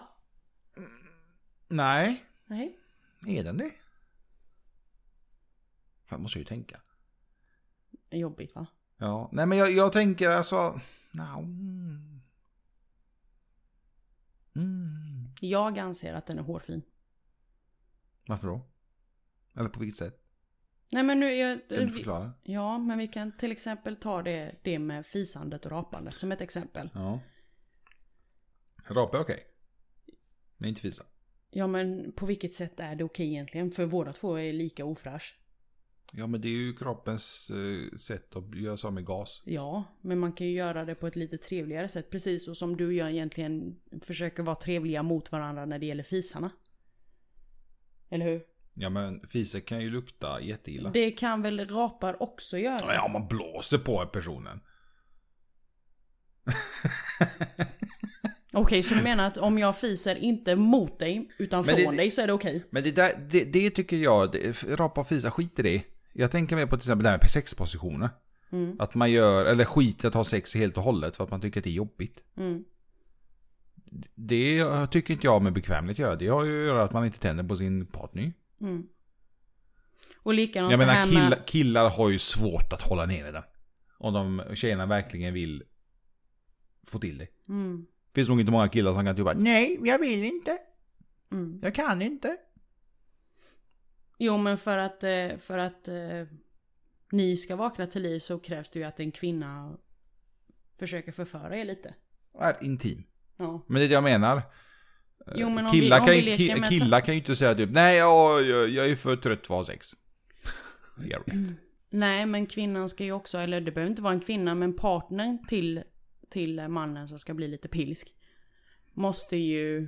Nej. Nej. Är den det? Jag måste ju tänka. Jobbigt va? Ja. Nej men jag, jag tänker alltså... No. Mm. Jag anser att den är hårfin. Varför då? Eller på vilket sätt? Nej men nu... Jag, Kan du vi, förklara? ja men vi kan till exempel ta det, det med fisandet och rapandet som ett exempel. Ja. Rapa är okej. Men inte fisa. Ja men på vilket sätt är det okej egentligen? För båda två är lika ofräsch. Ja men det är ju kroppens eh, sätt att göra sig av med gas. Ja, men man kan ju göra det på ett lite trevligare sätt. Precis och som du och jag egentligen försöker vara trevliga mot varandra när det gäller fisarna. Eller hur? Ja men fisa kan ju lukta jätteilla. Det kan väl rapar också göra? Ja, man blåser på personen. Okej, så du menar att om jag fiser inte mot dig utan Men det- från dig så är det okej? Men det där, det, det tycker jag, det, rapa och fisa, skit i det. Jag tänker mer på till exempel det här med sexpositioner. Mm, Att man gör, eller skiter att ha sex helt och hållet för att man tycker att det är jobbigt. mm. Det tycker inte jag med bekvämlighet göra. Det har ju att göra att man inte tänder på sin partner. Mm. Och likadant Jag det här menar med... killar, killar har ju svårt att hålla nere den. Om de tjejerna verkligen vill få till det. Mm, Finns nog inte många killar som kan typ bara nej, jag vill inte. mm. Jag kan inte. Jo men för att, eh, för att eh, ni ska vakna till liv så krävs det ju att en kvinna försöker förföra er lite. Är intim. Ja. Men det är det jag menar. Jo, men om vi- killar, om kan, vi ju- leker ki- med- killar kan ju inte säga typ nej jag, jag, jag är för trött för att ha sex. Yeah, right. Nej men kvinnan ska ju också, eller det behöver inte vara en kvinna men partnern till, till mannen som ska bli lite pilsk. Måste ju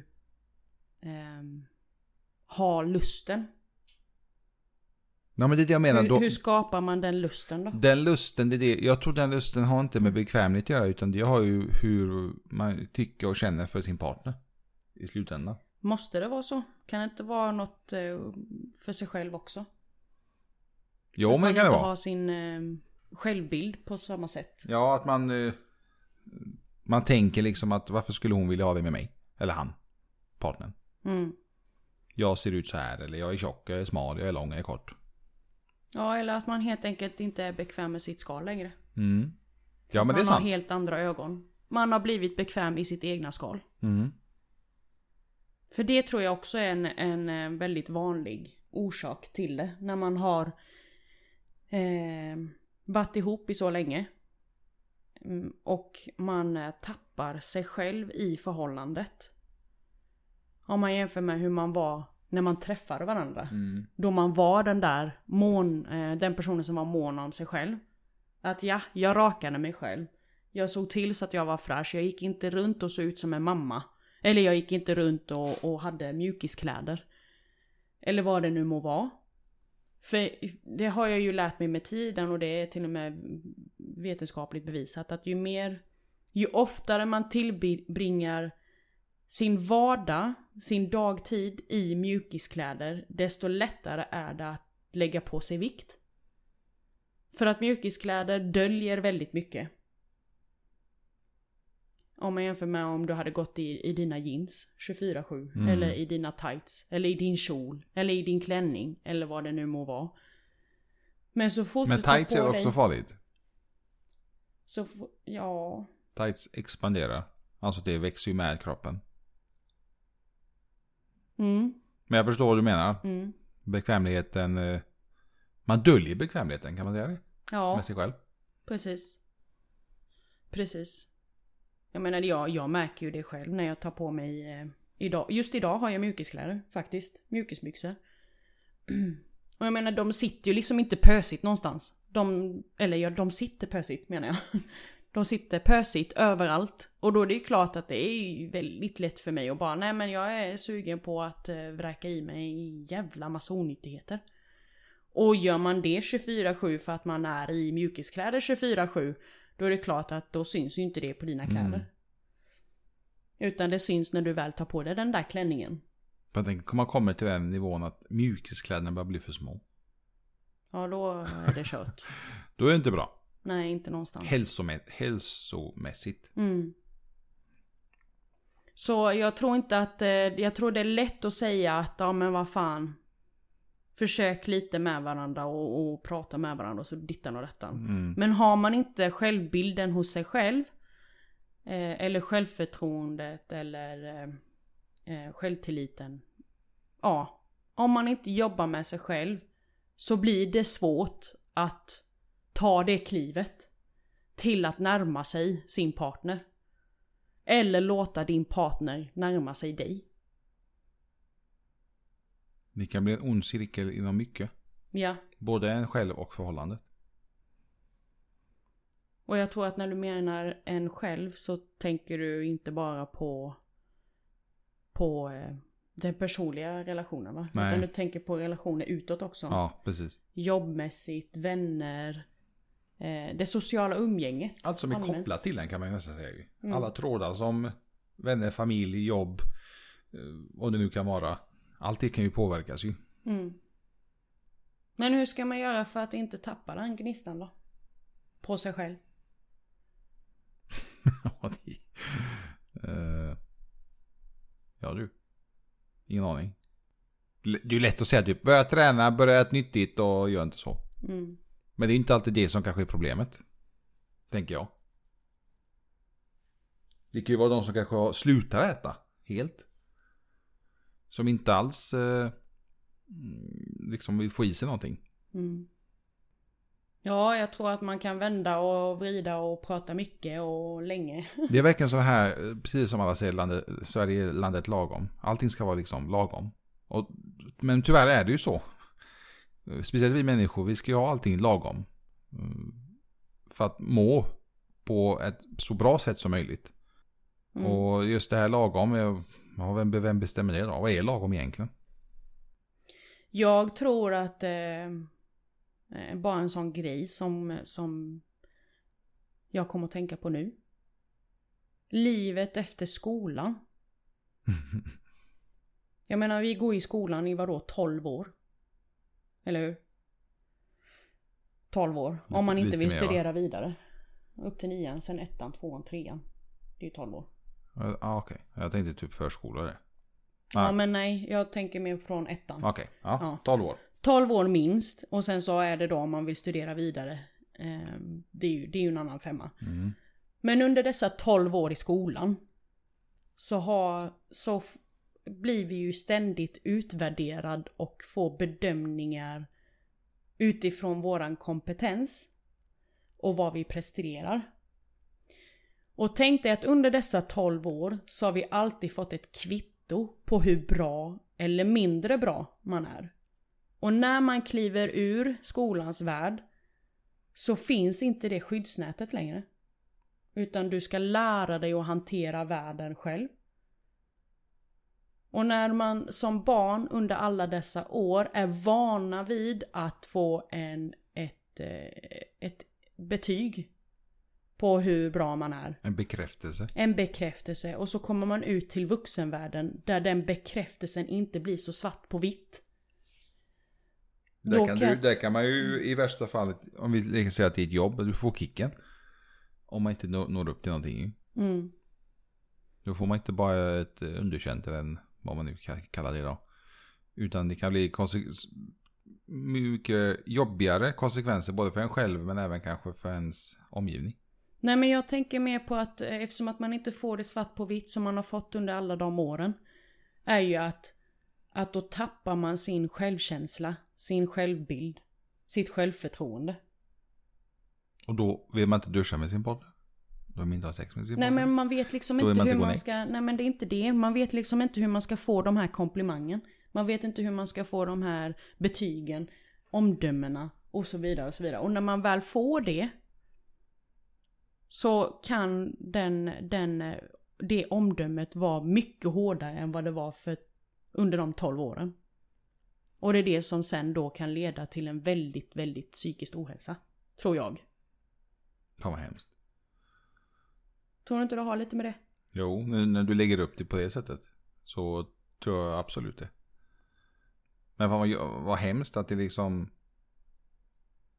ehm, ha lusten. Ja men det är det jag menar. Hur, Då, hur skapar man den lusten då? den lusten, det är det, jag tror den lusten har inte med bekvämlighet att göra utan det har ju hur man tycker och känner för sin partner. I slutändan. Måste det vara så? Kan det inte vara något eh, för sig själv också? Jo Att man men det kan det inte vara. har sin ehm, självbild på samma sätt. Ja att man, eh, man tänker liksom att varför skulle hon vilja ha det med mig? Eller han. Partnern. Mm. Jag ser ut så här eller jag är tjock, jag är smal, jag är lång, jag är kort. Ja eller att man helt enkelt inte är bekväm med sitt skal längre. Mm. Ja men man det är sant. har helt andra ögon. Man har blivit bekväm i sitt egna skal. Mm. För det tror jag också är en, en eh, väldigt vanlig orsak till det. När man har eh, varit ihop i så länge. Mm, Och man eh, tappar sig själv i förhållandet. Om man jämför med hur man var när man träffade varandra. Mm. Då man var den där mån, eh, den personen som var mån om sig själv. Att ja, jag rakade mig själv. Jag såg till så att jag var fräsch. Jag gick inte runt och såg ut som en mamma. Eller jag gick inte runt och, och hade mjukiskläder. Eller vad det nu må vara. För det har jag ju lärt mig med tiden och det är till och med vetenskapligt bevisat att ju mer ju oftare man tillbringar sin vardag, sin dagtid i mjukiskläder, desto lättare är det att lägga på sig vikt. För att mjukiskläder döljer väldigt mycket. Om man jämför med om du hade gått i, i dina jeans 24-7, Mm. eller i dina tights, eller i din kjol, eller i din klänning, eller vad det nu må vara. Men så fort Men du tar tights på är också dig, farligt. så får- Ja... Tights expanderar. Alltså det växer ju med kroppen. Mm, Men jag förstår vad du menar. mm. Bekvämligheten. eh, Man döljer bekvämligheten, kan man säga det? Ja. Med sig själv. Precis. Precis. Jag menar, jag, jag märker ju det själv när jag tar på mig... Eh, idag. Just idag har jag mjukiskläder faktiskt. Mjukisbyxor. Och jag menar, de sitter ju liksom inte pösigt någonstans. De, eller ja, de sitter pösigt menar jag. De sitter pösigt överallt. Och då är det ju klart att det är ju väldigt lätt för mig att bara, nej men jag är sugen på att eh, vräka i mig en jävla massa onyttigheter. Och gör man det 24-7 för att man är i mjukiskläder 24-7 Då är det klart att då syns ju inte det på dina kläder. Mm. Utan det syns när du väl tar på dig den där klänningen. Men tänk om man kommer till den nivån att mjukiskläderna börjar bli för små. Ja då är det kört. Då är det inte bra. Nej inte någonstans. Hälsomä- hälsomässigt. Mm. Så jag tror inte att, eh, jag tror det är lätt att säga att ja men vad fan. Försök lite med varandra och, och prata med varandra och så dittan och detta. Mm. Men har man inte självbilden hos sig själv. Eh, eller självförtroendet eller eh, eh, självtilliten. Ja, om man inte jobbar med sig själv. Så blir det svårt att ta det klivet till att närma sig sin partner. Eller låta din partner närma sig dig. Det kan bli en ond cirkel inom mycket. Ja, Både en själv och förhållandet. och jag tror att när du menar en själv så tänker du inte bara på på eh, den personliga relationen va? Nej. Utan du tänker på relationer utåt också. Ja, precis. Jobbmässigt, vänner, eh, det sociala umgänget. Allt som är Allmänt. kopplat till den kan man ju nästan säga. Mm. Alla trådar som vänner, familj, jobb, eh, vad det nu kan vara. Allt det kan ju påverkas ju. Mm. Men hur ska man göra för att inte tappa den gnistan då? På sig själv. Ja, det... Eh, ja du. Ingen aning. L- Det är ju lätt att säga typ börja träna, börja äta nyttigt och gör inte så. Mm. Men det är ju inte alltid det som kanske är problemet. Tänker jag. Det kan ju vara de som kanske har- slutar äta helt. Som inte alls eh, mm, liksom vill få i sig någonting. Mm. Ja, jag tror att man kan vända och vrida och prata mycket och länge. Det är verkligen så här, eh, precis som alla säger, landet, Sverige är landet lagom. Allting ska vara liksom lagom. Och, men tyvärr är det ju så. Eh, Speciellt vi människor, vi ska ju ha allting lagom. Mm, För att må på ett så bra sätt som möjligt. Mm. Och just det här lagom, eh, ja, vem, vem bestämmer det då? Vad är lagom egentligen? Jag tror att eh, eh, bara en sån grej som, som jag kommer att tänka på nu. Livet efter skolan. Jag menar vi går i skolan i vadå 12 år? Eller hur? 12 år. Lite- Om man inte lite vill mer, va? studera vidare. Upp till nian, sen ettan, tvåan, trean. Det är ju 12 år. Eh, Ja, okej. Jag tänkte typ förskola det. Nej. Ja men nej, jag tänker mer från ettan. Okej, ja. Ja. 12 år. 12 år minst och sen så är det då om man vill studera vidare. Eh, Det är ju, det är ju en annan femma. Mm. Men under dessa 12 år i skolan så, har, så f- blir vi ju ständigt utvärderad och får bedömningar utifrån våran kompetens och vad vi presterar. Och tänk dig att under dessa 12 år så har vi alltid fått ett kvitto kvitto på hur bra eller mindre bra man är. Och när man kliver ur skolans värld så finns inte det skyddsnätet längre. Utan du ska lära dig att hantera världen själv. Och när man som barn under alla dessa år är vana vid att få en, ett, eh, ett betyg på hur bra man är. En bekräftelse. En bekräftelse och så kommer man ut till vuxenvärlden där den bekräftelsen inte blir så svart på vitt. Där Då kan, kan- Du, där kan man ju i värsta fallet, om vi lägger- säger att det är ett jobb, du får kicken. Om man inte når, når upp till någonting. Mm. Då får man inte bara ett eh, underkänt eller en, vad man nu ka- kallar det då. Utan det kan bli konse- mycket jobbigare konsekvenser både för en själv men även kanske för ens omgivning. Nej men jag tänker mer på att eh, eftersom att man inte får det svart på vitt som man har fått under alla de åren. Är ju att, att då tappar man sin självkänsla, sin självbild, sitt självförtroende. Och då vill man inte duscha med sin partner. Då vill man inte ha sex med sin Nej partner. men man vet liksom Då är inte man hur inte man connect. ska, nej men det är inte det. Man vet liksom inte hur man ska få de här komplimangen. Man vet inte hur man ska få de här betygen, omdömena och så vidare och så vidare. Och när man väl får det så kan den, den, eh, det omdömet vara mycket hårdare än vad det var för under de 12 åren. Och det är det som sen då kan leda till en väldigt, väldigt psykisk ohälsa. Tror jag. Fan vad hemskt. Tror du inte det har lite med det? Jo, nu när du lägger upp det på det sättet så tror jag absolut det. Men fan vad, vad hemskt att det liksom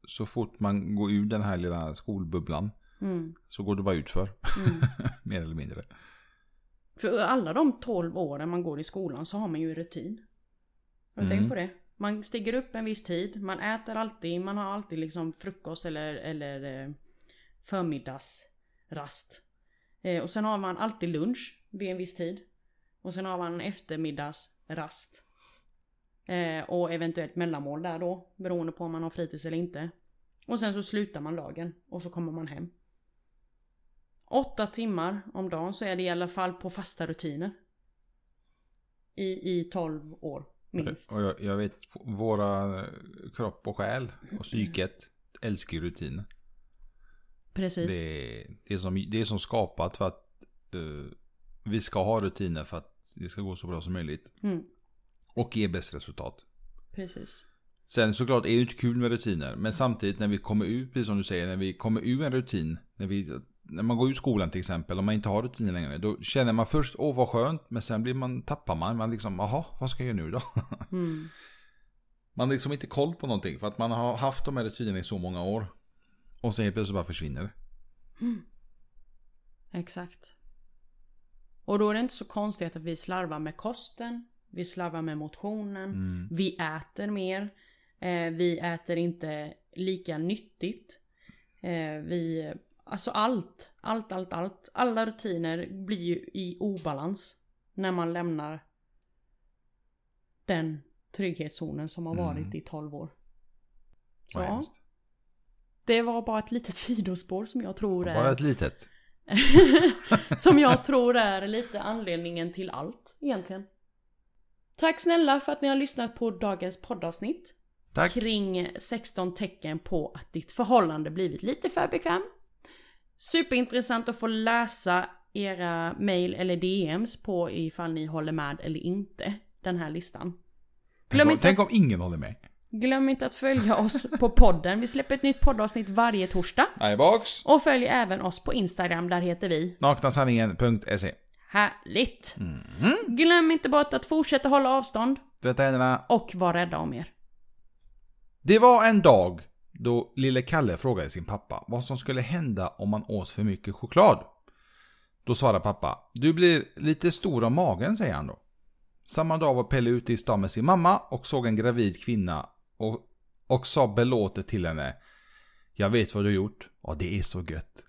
så fort man går ur den här lilla skolbubblan Mm. så går det bara utför. Mm. Mer eller mindre. För alla de 12 åren man går i skolan så har man ju rutin. Har du Mm. tänkt på det? Man stiger upp en viss tid, man äter alltid, man har alltid liksom frukost eller, eller eh, förmiddagsrast. Eh, Och sen har man alltid lunch vid en viss tid. Och sen har man en eftermiddagsrast. Eh, Och eventuellt mellanmål där då, beroende på om man har fritids eller inte. Och sen så slutar man dagen och så kommer man hem. Åtta timmar om dagen så är det i alla fall på fasta rutiner. I, i 12 år minst. Och jag, jag vet, våra kropp och själ och psyket älskar ju rutiner. Precis. Det, är- det, är som, det är som skapat för att eh, vi ska ha rutiner för att det ska gå så bra som möjligt. Mm, Och ge bäst resultat. precis. Sen såklart är det ju inte kul med rutiner. Men samtidigt när vi kommer ut, precis som du säger, när vi kommer ur en rutin. När, vi, när man går ur skolan till exempel, om man inte har rutiner längre. Då känner man först, åh vad skönt. Men sen blir man, tappar man, man liksom, jaha, vad ska jag göra nu då? Mm, Man har liksom inte koll på någonting för att man har haft de här rutinerna i så många år. Och sen helt plötsligt bara försvinner det. exakt. Och då är det inte så konstigt att vi slarvar med kosten. Vi slarvar med motionen. Mm. Vi äter mer. Eh, vi äter inte lika nyttigt. Eh, vi... Alltså allt. Allt, allt, allt. Alla rutiner blir ju i obalans. När man lämnar den trygghetszonen som har varit Mm. i 12 år. Så, Vad hemskt. det var bara ett litet sidospår som jag tror Bara är... ett litet. som jag tror är lite anledningen till allt egentligen. Tack snälla för att ni har lyssnat på dagens poddavsnitt. Tack. kring 16 tecken på att ditt förhållande blivit lite för bekväm. Superintressant att få läsa era mail eller DMs på ifall ni håller med eller inte den här listan. Tänk Glöm om, inte, tänk om ingen håller med. glöm inte att följa oss på podden. Vi släpper ett nytt poddavsnitt varje torsdag. Nej, box. Och följ även oss på Instagram, där heter vi Naknasanningen.se. Härligt! Mm. Glöm inte bort att fortsätta hålla avstånd Tvätta händerna. och var rädda om er. Det var en dag då lille Kalle frågade sin pappa vad som skulle hända om man åt för mycket choklad. Då svarade pappa, du blir lite stor om magen säger han då. Samma dag var Pelle ute i stan med sin mamma och såg en gravid kvinna och, och sa belåtet till henne. Jag vet vad du gjort och det är så gött.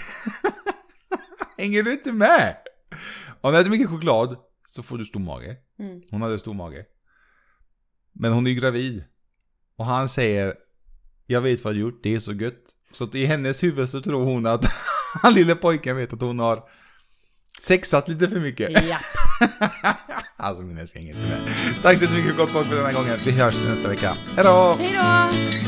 Hänger du inte med? Om du äter mycket choklad så får du stor mage. Mm. Hon hade stor mage. Men hon är ju gravid. Och han säger Jag vet vad du gjort, det är så gött. Så att i hennes huvud så tror hon att han lille pojken vet att hon har Sexat lite för mycket. Ja. Alltså min älskling, inte med. Tack så mycket för att du har kollat på för den här gången. Vi hörs nästa vecka. Hej då! Hej då!